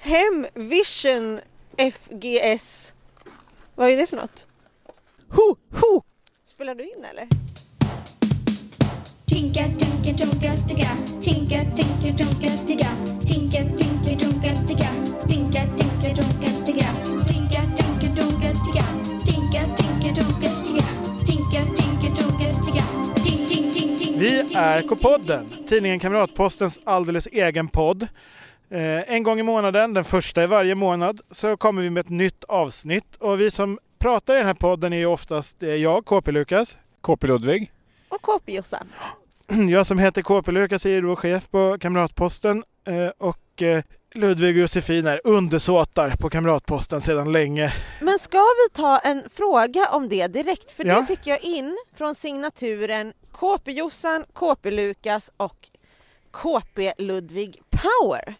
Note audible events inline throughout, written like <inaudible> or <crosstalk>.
hem Vision FGS. Vad är det för något? Ho, ho! Spelar du in eller? Tinka, tinka, tonka, ticka. Tinka, tinka, tonka, ticka. Tinka, tinka, tonka, ticka. Tinka, tinka, tonka, ticka. Tinka, tinka, tonka, ticka. Tinka, tinka, tonka, ticka. Tinka, tinka, tonka, ticka. Tink, tink, tink, tink. Vi är K-podden, tidningen Kamratpostens alldeles egen podd. Eh, en gång i månaden, den första i varje månad, så kommer vi med ett nytt avsnitt. Och vi som pratar i den här podden är ju oftast eh, jag, KP-Lukas. KP Ludvig. Och KP-Jossan. <clears throat> Jag som heter KP-Lukas är ju då chef på Kamratposten eh, och eh, Ludvig och Josefin är undersåtar på Kamratposten sedan länge. Men ska vi ta en fråga om det direkt? För Ja. det fick jag in från signaturen KP-Jossan, KP-Lukas och KP-Ludvig Power.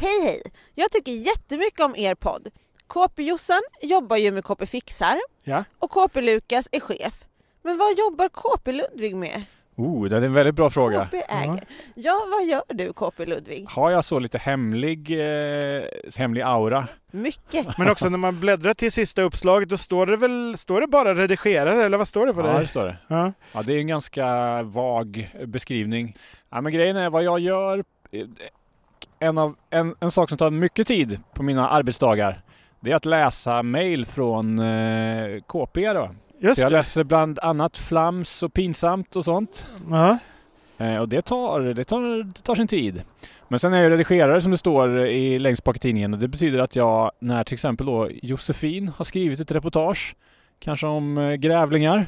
Hej hej! Jag tycker jättemycket om er podd. KP-Jossan jobbar ju med KP Fixar Ja. och KP-Lukas är chef. Men vad jobbar KP-Ludvig med? Oh, det är en väldigt bra fråga. KP äger. Ja, vad gör du KP-Ludvig? Har jag så lite hemlig, eh, hemlig aura? Mycket. Men också när <laughs> man bläddrar till sista uppslaget då står det väl står det bara redigerare eller vad står det på Ja, det dig? står det. Ja. Ja, det är en ganska vag beskrivning. Ja, men grejen är vad jag gör. eh, En, av, en, en sak som tar mycket tid på mina arbetsdagar. Det är att läsa mejl från eh, KP då. Just Så jag det. läser bland annat flams och pinsamt och sånt. Ja. Eh, och det tar, det, tar, det tar sin tid. Men sen är jag ju redigerare som det står i, längst bak i tidningen och det betyder att jag när till exempel då Josefin har skrivit ett reportage Kanske om eh, grävlingar.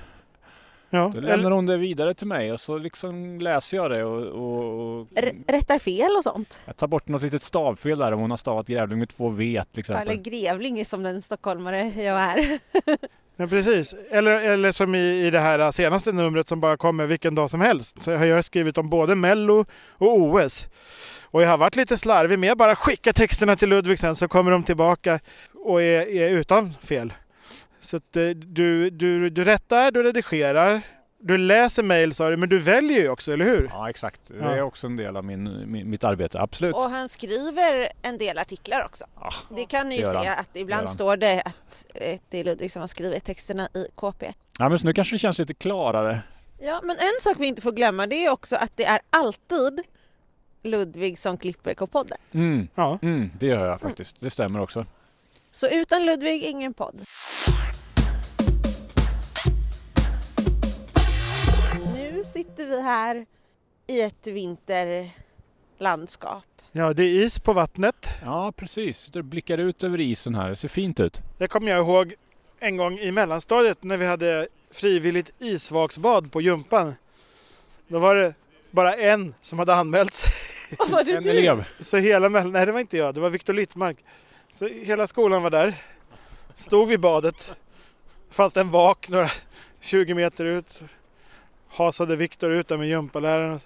Ja. Då Eller- lämnar hon det vidare till mig och så liksom läser jag det och, och, och R- rättar fel och sånt. jag tar bort något litet stavfel där om hon har stavat grävling med två v till Eller exempel. grevling som den stockholmare jag är. Ja, precis. Eller, eller som i, i det här senaste numret som bara kommer vilken dag som helst. Så har jag skrivit om både Mello och OS. Och jag har varit lite slarvig med att bara skicka texterna till Ludvig sen så kommer de tillbaka och är, är utan fel. Så att, eh, du, du, du rättar, du redigerar, du läser mejl sa du, men du väljer ju också, eller hur? Ja exakt, det Ja. är också en del av min, min, mitt arbete, absolut. <laughs> Och han skriver en del artiklar också. Ah, Det kan ni ju det gör se han. att ibland gör han. står det att eh, det är Ludvig som har skrivit texterna i KP. Ja men så nu kanske det känns lite klarare. Ja, men en sak vi inte får glömma det är också att det är alltid Ludvig som klipper K-podden. Mm, Ja. mm, det gör jag faktiskt, det stämmer också. Så utan Ludvig, ingen podd. Nu sitter vi här i ett <laughs> vinterlandskap. Ja, det är is på vattnet. Ja, precis. Sitter och blickar ut över isen här. Det ser fint ut. Det kommer jag ihåg en gång i mellanstadiet när vi hade frivilligt isvaksbad på gympan. Då var det bara en som hade anmält sig. Och var det En du? elev. Så hela mellan... Nej, det var inte jag. Det var Viktor Littmark. Så hela skolan var där. Stod vid badet. Fanns det en vak några 20 meter ut. Hasade Viktor ut där med gympaläraren.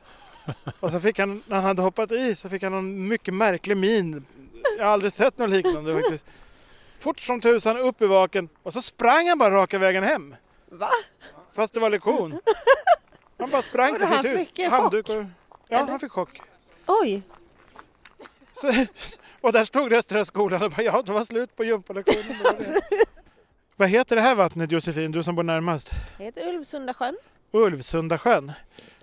Och så fick han, när han hade hoppat i, så fick han en mycket märklig min. Jag har aldrig sett något liknande faktiskt. Fort som tusan upp i vaken och så sprang han bara raka vägen hem. Va? Fast det var lektion. Han bara sprang Vadå, till sitt han hus. fick en Handduk chock? och- Ja, Eller? han fick chock. Oj! Så, och där stod resten av skolan och bara, ja det var slut på gympalektionen. Det var det. Vad heter det här vattnet Josefin, du som bor närmast? Det heter Ulvsundasjön. Ulvsunda sjön.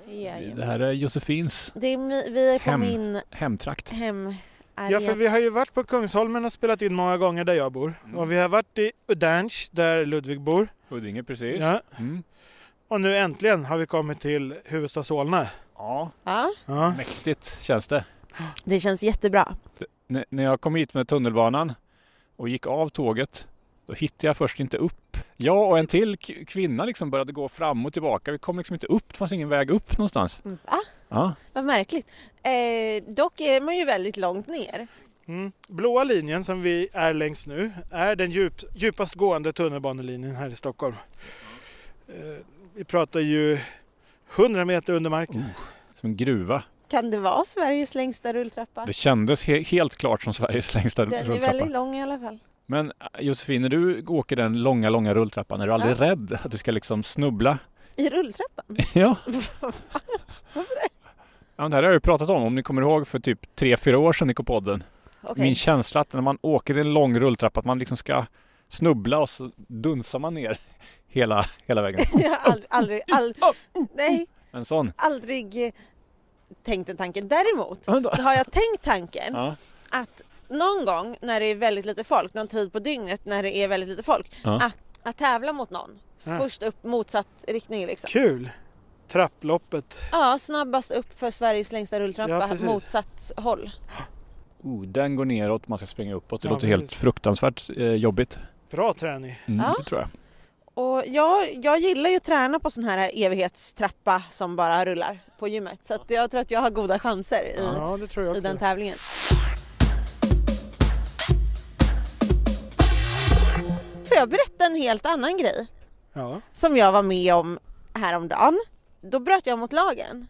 Det här är Josefins Det är, mi- vi är på Hem. min hemtrakt. hemarena. Ja, för vi har ju varit på Kungsholmen och spelat in många gånger där jag bor. Och vi har varit i Udange där Ludvig bor. Huddinge, precis. Ja. Mm. Och nu äntligen har vi kommit till huvudstad Solna. ja, ja, Ja. mäktigt känns det. det känns jättebra. N- när jag kom hit med tunnelbanan och gick av tåget, då hittade jag först inte upp. Jag och en till k- kvinna liksom började gå fram och tillbaka. Vi kom liksom inte upp. Det fanns ingen väg upp någonstans. Va? Ja, Vad märkligt. Eh, dock är man ju väldigt långt ner. Mm. Blåa linjen som vi är längs nu är den djup, djupast gående tunnelbanelinjen här i Stockholm. Eh, Vi pratar ju 100 meter under marken. som en gruva. Kan det vara Sveriges längsta rulltrappa? Det kändes he- helt klart som Sveriges längsta Den är rulltrappa. väldigt lång i alla fall. Men äh, Josefin, när du åker den långa, långa rulltrappan, är du aldrig rädd att du ska liksom snubbla? I rulltrappan? <laughs> Ja. ja men det här har jag ju pratat om, om ni kommer ihåg för typ tre fyra år sedan i K-podden. okej. Min känsla att när man åker i en lång rulltrappa att man liksom ska snubbla och så dunsar man ner <laughs> hela, hela vägen. Jag har aldrig, aldrig, aldrig, nej, En sån. aldrig eh, tänkt den tanken. Däremot Ja, men då- så har jag tänkt tanken Ja. att någon gång när det är väldigt lite folk, någon tid på dygnet när det är väldigt lite folk, Ja. att, att tävla mot någon. Ja. Först upp motsatt riktning liksom. Kul! Trapploppet. Ja, snabbast upp för Sveriges längsta rulltrappa, Ja, precis. motsatt håll. Oh, den går neråt, man ska springa uppåt. Det Ja, låter helt precis. fruktansvärt eh, jobbigt. Bra träning. Mm, Ja. Det tror jag. Och jag, jag gillar ju att träna på sån här evighetstrappa som bara rullar på gymmet. Så att jag tror att jag har goda chanser i, Ja, det tror jag i den också. tävlingen. Får jag berätta en helt annan grej Ja. som jag var med om häromdagen? Då bröt jag mot lagen.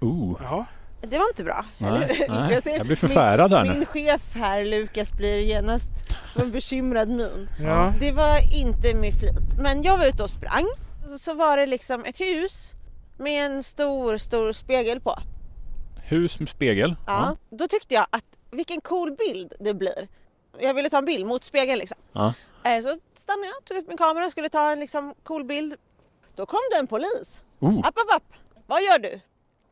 Oh. Jaha. Det var inte bra. Nej, eller? nej. ser- Jag blir förfärad här min, nu. min chef här, Lukas, blir genast med en bekymrad min. Ja. Det var inte med flit, men jag var ute och sprang. Så- Så var det liksom ett hus med en stor, stor spegel på. Hus med spegel. Ja. Då tyckte jag att vilken cool bild det blir. Jag ville ta en bild mot spegeln liksom. Ja. Eh, Så stannade jag, tog upp min kamera och skulle ta en liksom cool bild. Då kom det en polis. Oh. App, app, app. Vad gör du?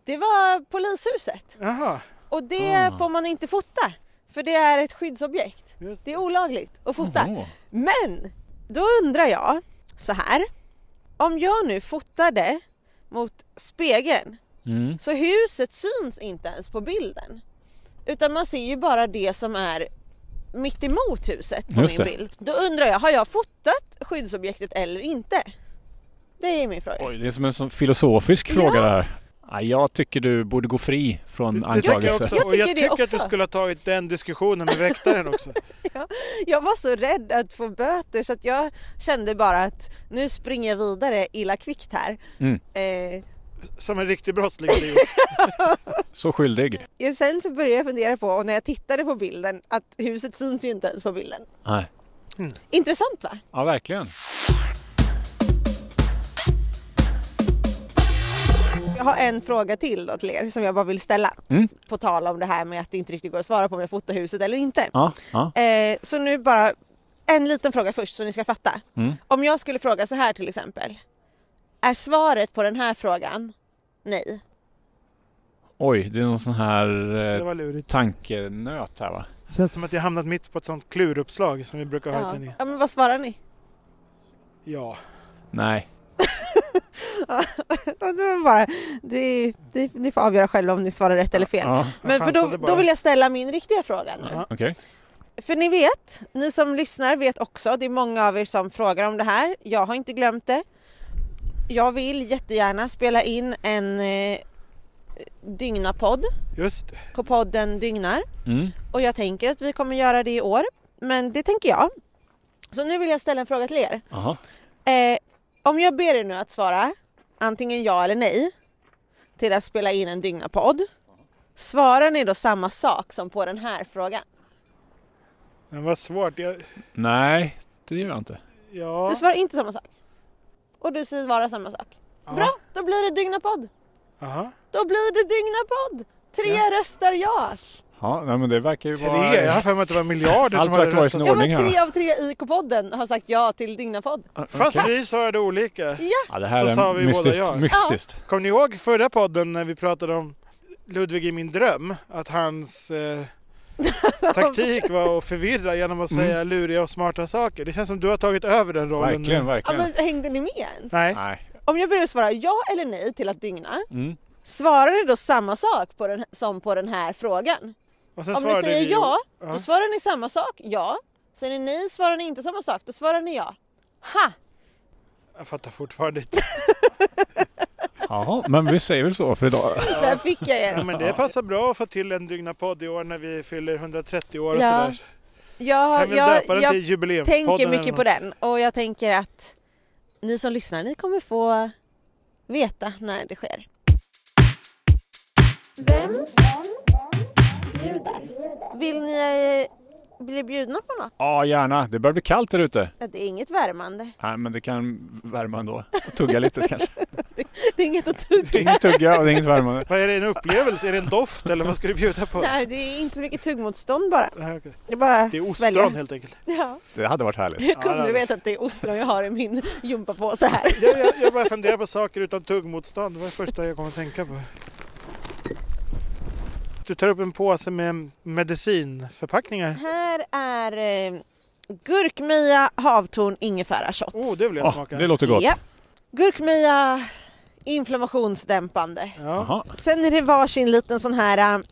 Det var polishuset. Jaha. Och det får man inte fota. För det är ett skyddsobjekt. Just Det är olagligt att fota. Åh. Men då undrar jag så här. Om jag nu fotade mot spegeln <laughs> Mm. så huset syns inte ens på bilden. Utan man ser ju bara det som är mitt emot huset på min Just det. bild. Då undrar jag, har jag fotat skyddsobjektet eller inte? Det är min fråga. Oj, det är som en sån filosofisk Ja. fråga det här. Ja, jag tycker du borde gå fri Det- från Det tycker jag anklagelse. också. Jag Och jag tycker det tycker att du också. skulle ha tagit den diskussionen med väktaren också. <laughs> Jag var så rädd att få böter så att jag kände bara att nu springer jag vidare illa kvickt här. Mm. Eh, Som en riktig brottsling hade gjort. Så skyldig. Ja, Sen så började jag fundera på, och när jag tittade på bilden, att huset syns ju inte ens på bilden. Nej. Intressant va? Ja, verkligen. Jag har en fråga till då till er som jag bara vill ställa. Mm. På tal om det här med att det inte riktigt går att svara på om jag fotar huset eller inte. Ja, ja. Eh, så nu bara en liten fråga först så ni ska fatta. Mm. Om jag skulle fråga så här till exempel. Är svaret på den här frågan nej? Oj, det är någon sån här Det eh, var lurigt. tankenöt här va? Känns som att jag hamnat mitt på ett sånt kluruppslag som vi brukar ha Ja. utan i. ja men vad svarar <laughs> ni? Ja. Nej. Det var bara, det, det, ni får avgöra själva om ni svarar rätt eller fel. Ja, Men för chansade då, bara. då vill jag ställa min riktiga fråga nu. Ja. okej. För ni vet, ni som lyssnar vet också, det är många av er som frågar om det här. Jag har inte glömt det. Jag vill jättegärna spela in en eh, dygnapodd, Just det. K-podden Dygnar. Mm. Och jag tänker att vi kommer göra det i år, men det tänker jag. Så nu vill jag ställa en fråga till er. Aha. Eh, om jag ber er nu att svara antingen ja eller nej till att spela in en dygnapodd. Svarar ni då samma sak som på den här frågan? Men vad svårt. Jag, Nej, det gör jag inte. ja. Du svarar inte samma sak. Och du svarar samma sak. Bra, då blir det dygnapodd. Aha. Då blir det dygnapodd. Tre röstar ja. Ja, nej, men det verkar ju Tre. vara... Jag har för mig att det var miljarder Allt som hade verkar vara i röstat. sin Ja, ordning men här. tre av tre i K-podden har sagt ja till dygnapodd. Ja, Fast okej. vi svarade olika. Ja, det här Så sa är vi båda mystiskt. ja. mystiskt. Kommer ni ihåg förra podden när vi pratade om Ludvig i min dröm? Att <laughs> hans eh, taktik var att förvirra genom att Mm. säga luriga och smarta saker. Det känns som du har tagit över den rollen Verkligen, nu. Ja, verkligen. men hängde ni med ens? Nej. Nej. Om jag börjar svara ja eller nej till att dygna, Mm. svarar ni då samma sak på den, som på den här frågan? Och sen Om ni svarade säger vi- ja, Ja. då svarar ni samma sak, ja. Säger ni nej, svarar ni inte samma sak, då svarar ni ja. Ha! Jag fattar fortfarande inte. Jaha, men vi säger väl så för idag. Där fick jag er. Ja, men det passar bra att få till en dygnapodd i år när vi fyller 130 år och Ja. sådär. Jag, Kan vi jag, döpa den jag till jubileumspodden? tänker eller mycket på något? den och jag tänker att ni som lyssnar, ni kommer få veta när det sker. Vem bjuder? Vill ni eh, blir bjudna på något? Ja, gärna. Det börjar bli kallt där ute. Ja, Det är inget värmande. <laughs> Nej, men det kan värma ändå. Tugga <laughs> lite kanske. Det är inget att Det är tugga. inget tugga och det är inget värmande. Vad är det, en upplevelse? Är det en doft eller vad ska du bjuda på? Nej, det är inte så mycket tuggmotstånd bara. Nej, okej. Det är bara Det är svälja. ostron helt enkelt. <laughs> Ja. Det hade varit härligt. Hur det kunde hade- du veta att det är ostron jag har i min gympapåse <laughs> här? Jag, jag, jag börjar fundera på saker utan tuggmotstånd. Det var det första jag kom att tänka på. Du tar upp en påse med medicinförpackningar. Här är eh, gurkmeja, havtorn, ingefära shots. Oh, det vill jag Ja, smaka. Ah, det låter gott. Ja. Gurkmeja, inflammationsdämpande. Ja. Jaha. Sen är det varsin liten sån här eh,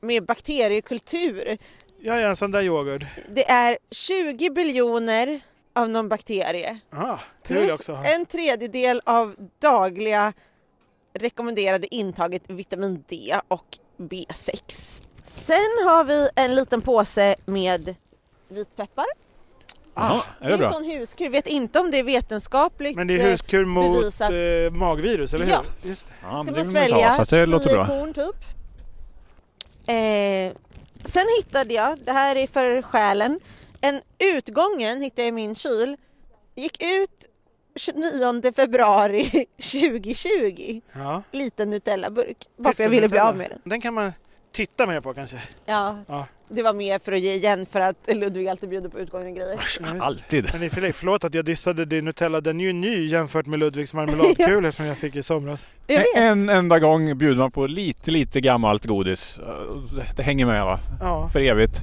med bakteriekultur. ja, ja, en sån där yoghurt. Det är 20 biljoner av någon bakterie. Aha, Ah, det vill jag Plus också ha. en tredjedel av dagliga rekommenderade intaget vitamin D och B6. Sen har vi en liten påse med vitpeppar. Jaha. Ah, det Är det är en bra? sån huskur. Jag vet inte om det är vetenskapligt. Men det är huskur mot bevisat. eh, magvirus, eller hur? Ja. Just det. Ja, Ska men man det vill man inte ha, svälja så att det låter tio bra. korn typ. Eh, sen hittade jag, det här är för själen, en utgången hittade jag i min kyl. Gick ut 29 februari <laughs> 2020. Ja. Liten Nutella-burk. Bara för jag Pytte ville bli Nutella. av med den. Den kan man titta mer på Ah, kanske. Ja. Ja. Det var mer för att ge igen för att Ludvig alltid bjuder på utgångna grejer. Ja, just. Alltid. Men i och för sig, förlåt att jag dissade din Nutella. Den är ju ny jämfört med <laughs> Ludvigs marmeladkulor som jag fick i somras. Jag vet. En enda gång bjuder man på lite, lite gammalt godis. Det- Det hänger med va? Ja, För evigt.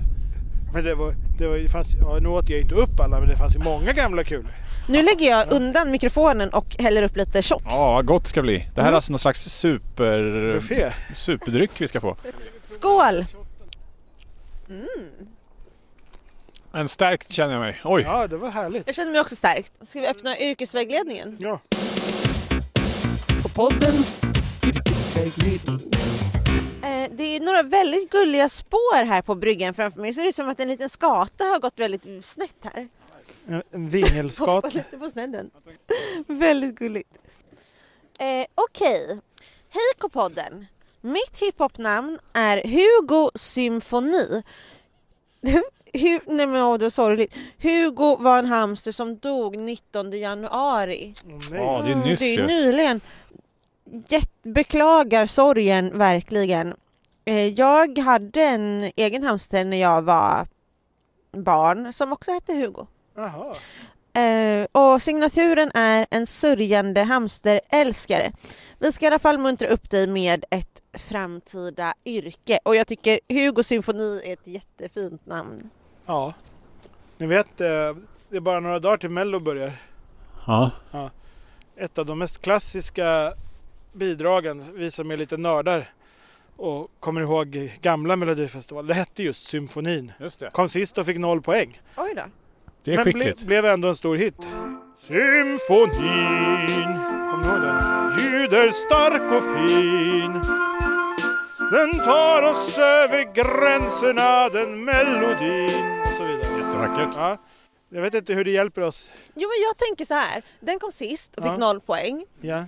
men det var, det var, det fanns, ja, nu åt jag inte upp alla, men det fanns ju många gamla kulor. Nu lägger jag undan mikrofonen och häller upp lite shots. Ja, vad gott det ska bli. Det här Mm. är alltså någon slags super... Buffé. superdryck vi ska få. Skål! En stärkt känner jag mig. Oj! Ja, det var härligt. Jag känner mig också stärkt. Ska vi öppna yrkesvägledningen? Ja. Eh, det är några väldigt gulliga spår här på bryggan framför mig. Ser det ut som att en liten skata har gått väldigt snett här. En- En Hoppa <laughs> vingelskata. lite på snedden. väldigt gulligt. Eh, Okej. Hej K-podden. Mitt hiphopnamn är Hugo Symfoni. <laughs> Hu- Nej men åh, det var sorgligt. Hugo var en hamster som dog 19 januari. Åh, Ja, nej. det är Mm, nyss Det är ju. nyligen. Jätt- beklagar sorgen verkligen. Eh, Jag hade en egen hamster när jag var barn som också hette Hugo. Jaha. Eh, och signaturen är en sörjande hamsterälskare. Vi ska i alla fall muntra upp dig med ett framtida yrke och jag tycker Hugo symfoni är ett jättefint namn. Ja. Ni vet, eh, det är bara några dagar till Mello börjar. Ja. ett av de mest klassiska bidragen, vi som är lite nördar och kommer ihåg gamla Melodifestivalen. Det hette just Symfonin. Just det. Kom sist och fick noll poäng. Oj då. Det är men ble, skickligt. blev ändå en stor hit. Symfonin, kommer du ihåg den? Ljud är stark och fin. Den tar oss över gränserna, den melodin. Och så vidare. Jättevackert. Ja, jag vet inte hur det hjälper oss. Jo men jag tänker så här, den kom sist och fick Ja. noll poäng. Ja.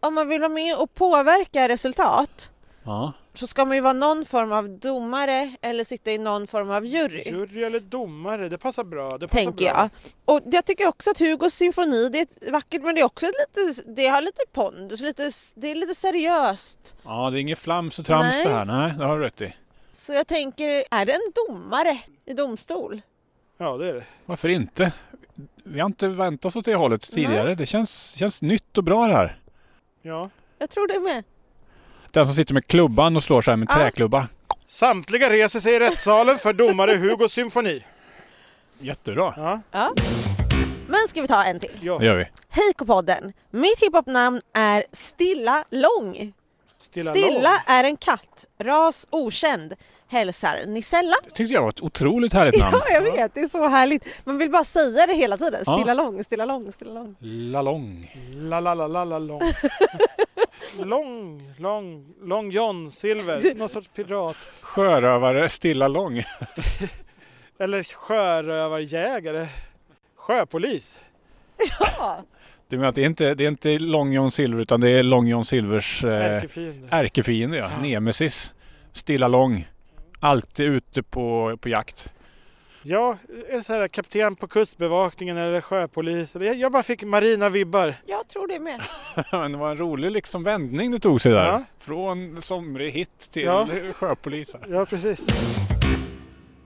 Om man vill vara med och påverka resultat Ja. så ska man ju vara någon form av domare eller sitta i någon form av jury. Jury eller domare, det passar bra. Det passar tänker bra. jag. Och jag tycker också att Hugos symfoni, det är ett vackert men det är också ett lite, det har lite pondus, lite, det är lite seriöst. Ja, det är inget flams och trams Nej. det här. Nej, det har du rätt i. Så jag tänker, är det en domare i domstol? Ja, det är det. Varför inte? Vi har inte vänt oss åt det hållet tidigare. Det känns, känns nytt och bra det här. Ja. Jag tror det med. Den som sitter med klubban och slår så här med Ja. träklubba. Samtliga reser sig i rättssalen för domare Hugo symfoni. Jättebra. Ja, Ja. Men ska vi ta en till? Det ja. gör vi. Hej K-podden! Mitt hiphopnamn är Stilla Lång. Stilla, Stilla är en katt, ras okänd. Hälsar Nisella. Det tyckte jag var ett otroligt härligt <laughs> namn. Ja, jag vet, det är så härligt. Man vill bara säga det hela tiden. Ja. Stilla Lång, Stilla Lång, Stilla Lång. Lalong. La la la la <laughs> la lång. lång, lång, lång John Silver. Någon sorts pirat. Sjörövare Stilla Lång. Eller sjörövarjägare. Sjöpolis. Ja, Du menar att det är inte det är inte Long John Silver utan det är Long John Silvers eh, Ärkefiende. ärkefiende, ja. Nemesis. Stilla Lång. Alltid ute på, på jakt. Ja, är så här, kapten på kustbevakningen eller sjöpolis. Jag, jag bara fick marina vibbar. Jag tror det med. Men det var en rolig liksom vändning det tog sig där. Ja. Från somrig hit till Ja. sjöpolis. här. Ja, precis.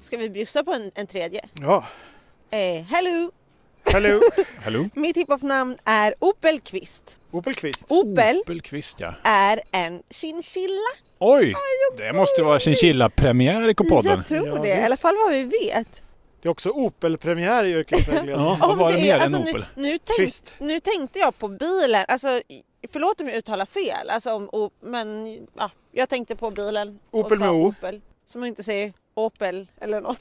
Ska vi bjussa på en, en tredje? Ja, Eh, hello! <laughs> hello! Hallå? Mitt hiphop-namn är Opel Kvist. Opelqvist. Oh. Opel Opelqvist ja. är en chinchilla. Oj! Det måste vara chinchilla-premiär i K-podden. Jag tror Ja, det, i alla visst. fall vad vi vet. Det är också Opel-premiär i yrkesvägledning. Ja, vad var det är- mer än alltså, Opel? Nu, nu, tänk, Kvist. nu tänkte jag på bilen, alltså, förlåt om jag uttalar fel, alltså, om, o, men ja, jag tänkte på bilen. och Opel sa med O. Opel, som man inte säger Opel eller något.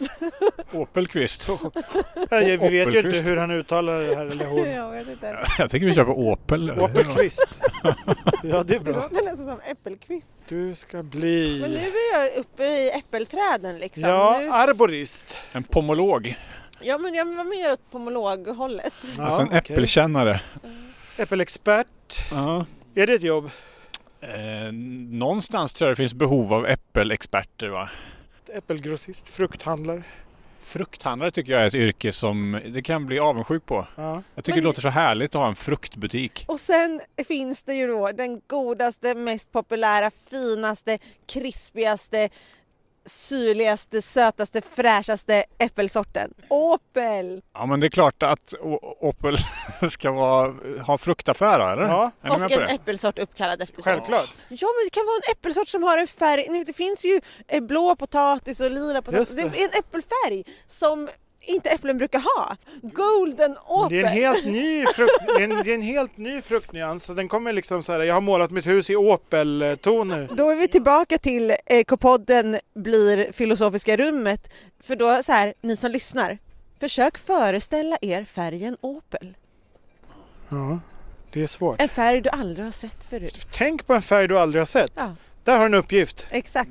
Opelqvist. <laughs> Nej, vi vet ju inte Opelqvist. hur han uttalar det här eller hon. jag vet inte. Jag tänker vi kör på Opel. <laughs> Opelqvist. Ja, det är Det bra. låter nästan som äppelkvist. Du ska bli... Men nu är jag uppe i äppelträden liksom. Ja, ah. Nu, arborist. En pomolog. ja men jag var mer åt pomologhållet. Ja, Alltså en okej. äppelkännare. Äppelexpert. Ja. Är det ett jobb? Eh, någonstans tror jag det finns behov av äppelexperter va? Äppelgrossist, frukthandlare. Frukthandlare tycker jag är ett yrke som det kan bli avundsjuk på. Ja. Jag tycker Men- det låter så härligt att ha en fruktbutik. Och sen finns det ju då den godaste, mest populära, finaste, krispigaste, syrligaste, sötaste, fräschaste äppelsorten. Opel! Ja men det är klart att O- Opel <laughs> ska vara, ha fruktaffär då, eller? Ja. Är ni med och på en det? äppelsort uppkallad efter sig. Självklart. Ja men det kan vara en äppelsort som har en färg, Ni vet, det finns ju eh, blå potatis och lila potatis. Just Det. det. är en äppelfärg som inte äpplen brukar ha. Golden Men Opel! Det är, en helt ny frukt, det, är en, det är en helt ny fruktnyans. Så Den kommer liksom så här, jag har målat mitt hus i Opel-toner. Då är vi tillbaka till eh, K-podden blir filosofiska rummet. För då så här, ni som lyssnar, försök föreställa er färgen Opel. Ja, det är svårt. En färg du aldrig har sett förut. Tänk på en färg du aldrig har sett. Ja. Där har du en uppgift. Exakt.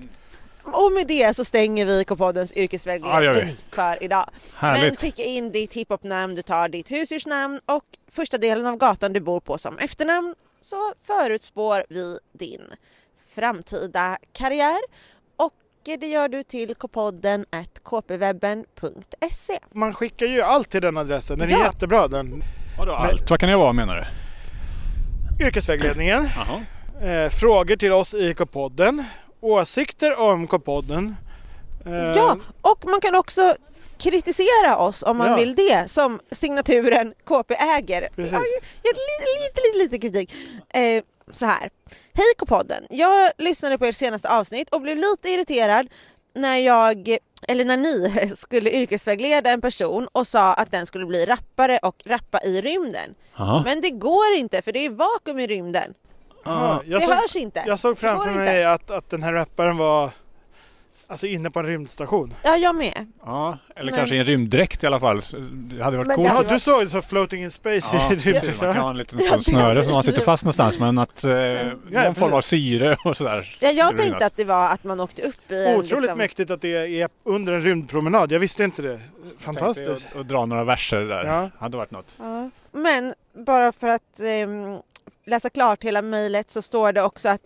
Och med det så stänger vi K-poddens Ja, det gör yrkesvägledning för idag. Men Härligt! skicka in ditt hiphopnamn, du tar ditt husdjursnamn och första delen av gatan du bor på som efternamn så förutspår vi din framtida karriär och det gör du till kpodden at kpwebben.se. Man skickar ju allt till den adressen. Den är Ja. jättebra den. Vadå allt? Vad kan jag vara menar du? Yrkesvägledningen. Jaha. Eh, frågor till oss i K-podden. Åsikter om K-podden. Eh, Ja, och man kan också kritisera oss om man Ja. vill det som signaturen KP äger. Precis. Ja, jag- lite, lite, lite, lite kritik. Eh, så här. Hej K-podden! Jag lyssnade på ert senaste avsnitt och blev lite irriterad när jag, eller när ni <laughs> skulle yrkesvägleda en person och sa att den skulle bli rappare och rappa i rymden. Ah. Jaha. Men det går inte för det är vakuum i rymden. ja, jag, det såg, hörs inte. jag såg framför går mig att, att den här rapparen var alltså, inne på en rymdstation. Ja, jag med. Ja, eller Men- kanske i en rymddräkt i alla fall. Det hade Men varit det coolt. hade Ja, du såg så floating in space Ja, i precis. man kan ha rymdstation. en liten sån snöre som man sitter fast någonstans men att eh, någon form av precis. syre och sådär. Ja, jag skulle tänkte vinnas. att det var att man åkte upp i en, liksom, Otroligt liksom- mäktigt att det är under en rymdpromenad. Jag visste inte det. Fantastiskt. Tänkte jag att- att dra några verser där. Ja. Hade varit något. Ja. Men bara för att ehm, läsa klart hela mejlet så står det också att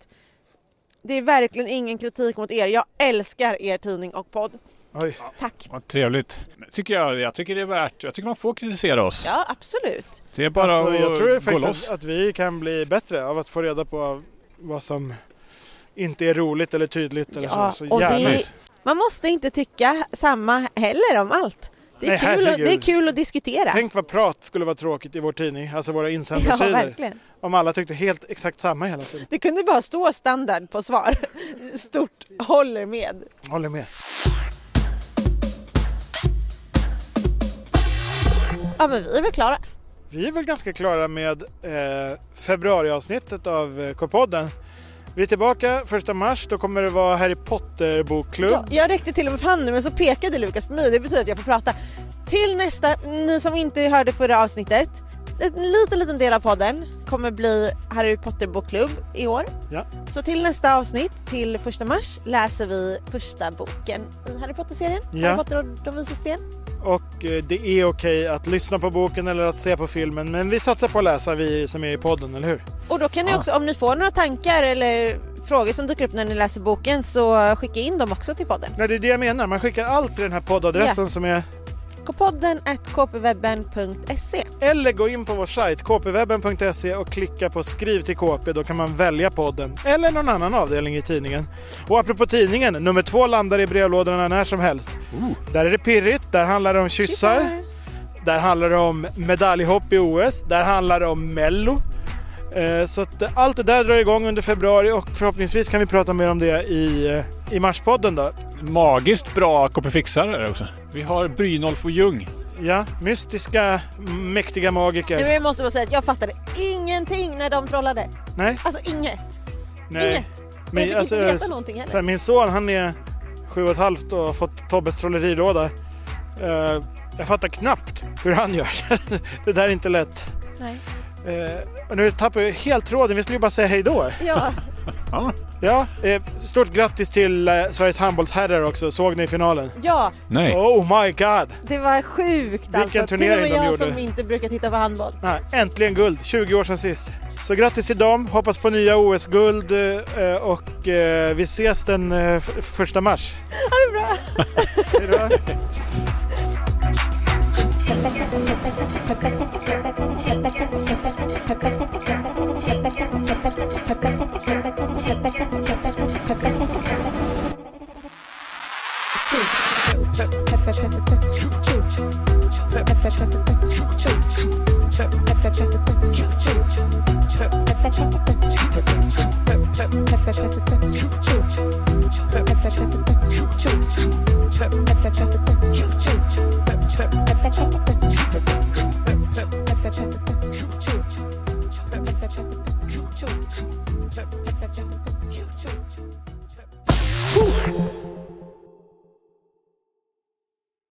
det är verkligen ingen kritik mot er. Jag älskar er tidning och podd. Oj. Tack! Vad trevligt. Men Tycker jag, jag tycker det är värt. Jag tycker man får kritisera oss. Ja, absolut. Det är bara Alltså, jag att tror ju gå faktiskt loss. att, att vi kan bli bättre av att få reda på vad som inte är roligt eller tydligt. Eller Ja, så. och Så det- gärna. Nice. Man måste inte tycka samma heller om allt. Det är, Nej, kul, att, herregud. det är kul att diskutera. Tänk vad prat skulle vara tråkigt i vår tidning, alltså våra ja, insändarsidor. verkligen. om alla tyckte helt exakt samma hela tiden. Det kunde bara stå standard på svar. <laughs> Stort håller med. Håller med. Ja, men vi är väl klara. Vi är väl ganska klara med eh, februariavsnittet av eh, K-podden. Vi är tillbaka första mars, då kommer det vara Harry Potter Ja, bokklubb. jag räckte till och med upp handen men så pekade Lukas på mig det betyder att jag får prata. Till nästa, ni som inte hörde förra avsnittet. En liten, liten del av podden kommer bli Harry Potter bokklubb i år. Ja. Så till nästa avsnitt, till första mars, läser vi första boken i Harry Potter-serien. Ja. Harry Potter och de vises sten. Och eh, det är okej att lyssna på boken eller att se på filmen, men vi satsar på att läsa vi som är i podden, eller hur? Och då kan ni Ah. också, om ni får några tankar eller frågor som dyker upp när ni läser boken så skicka in dem också till podden. Nej, det är det jag menar, man skickar allt till den här poddadressen som är kpodden at kpwebben.se. Eller gå in på vår sajt kpwebben.se och klicka på skriv till KP. Då kan man välja podden eller någon annan avdelning i tidningen. Och apropå tidningen, nummer två landar i brevlådorna när som helst. Där är det pirrigt, där handlar det om kyssar. Där handlar det om medaljhopp i OS. Där handlar det om Mello. Eh, Så att eh, allt det där drar igång under februari och förhoppningsvis kan vi prata mer om det i, eh, i Marspodden då. Magiskt bra KP-fixare också. Vi har Brynolf och Ljung. Ja, mystiska, mäktiga Nej, magiker. men Jag måste bara säga att jag fattade ingenting när de trollade. Nej, Alltså inget. nej. Inget. Men jag Men fick alltså, inte veta någonting heller. så här, min son han är sju och ett halvt och har fått Tobbes trollerilåda. Eh, jag fattar knappt hur han gör. <laughs> det där är inte lätt. Nej. Eh, och nu tappar jag helt tråden, vi skulle ju bara säga hej då. Ja, Ja. Ja, eh, stort grattis till eh, Sveriges handbollsherrar också. Såg ni finalen? ja, Nej. Oh my god! det var sjukt alltså. turnering Till och med de jag gjorde. som inte brukar titta på handboll. Nej, äntligen guld, 20 år sedan sist. Så grattis till dem, hoppas på nya OS-guld eh, och eh, vi ses den eh, f- första mars. Ha det bra! Hejdå. Choo choo.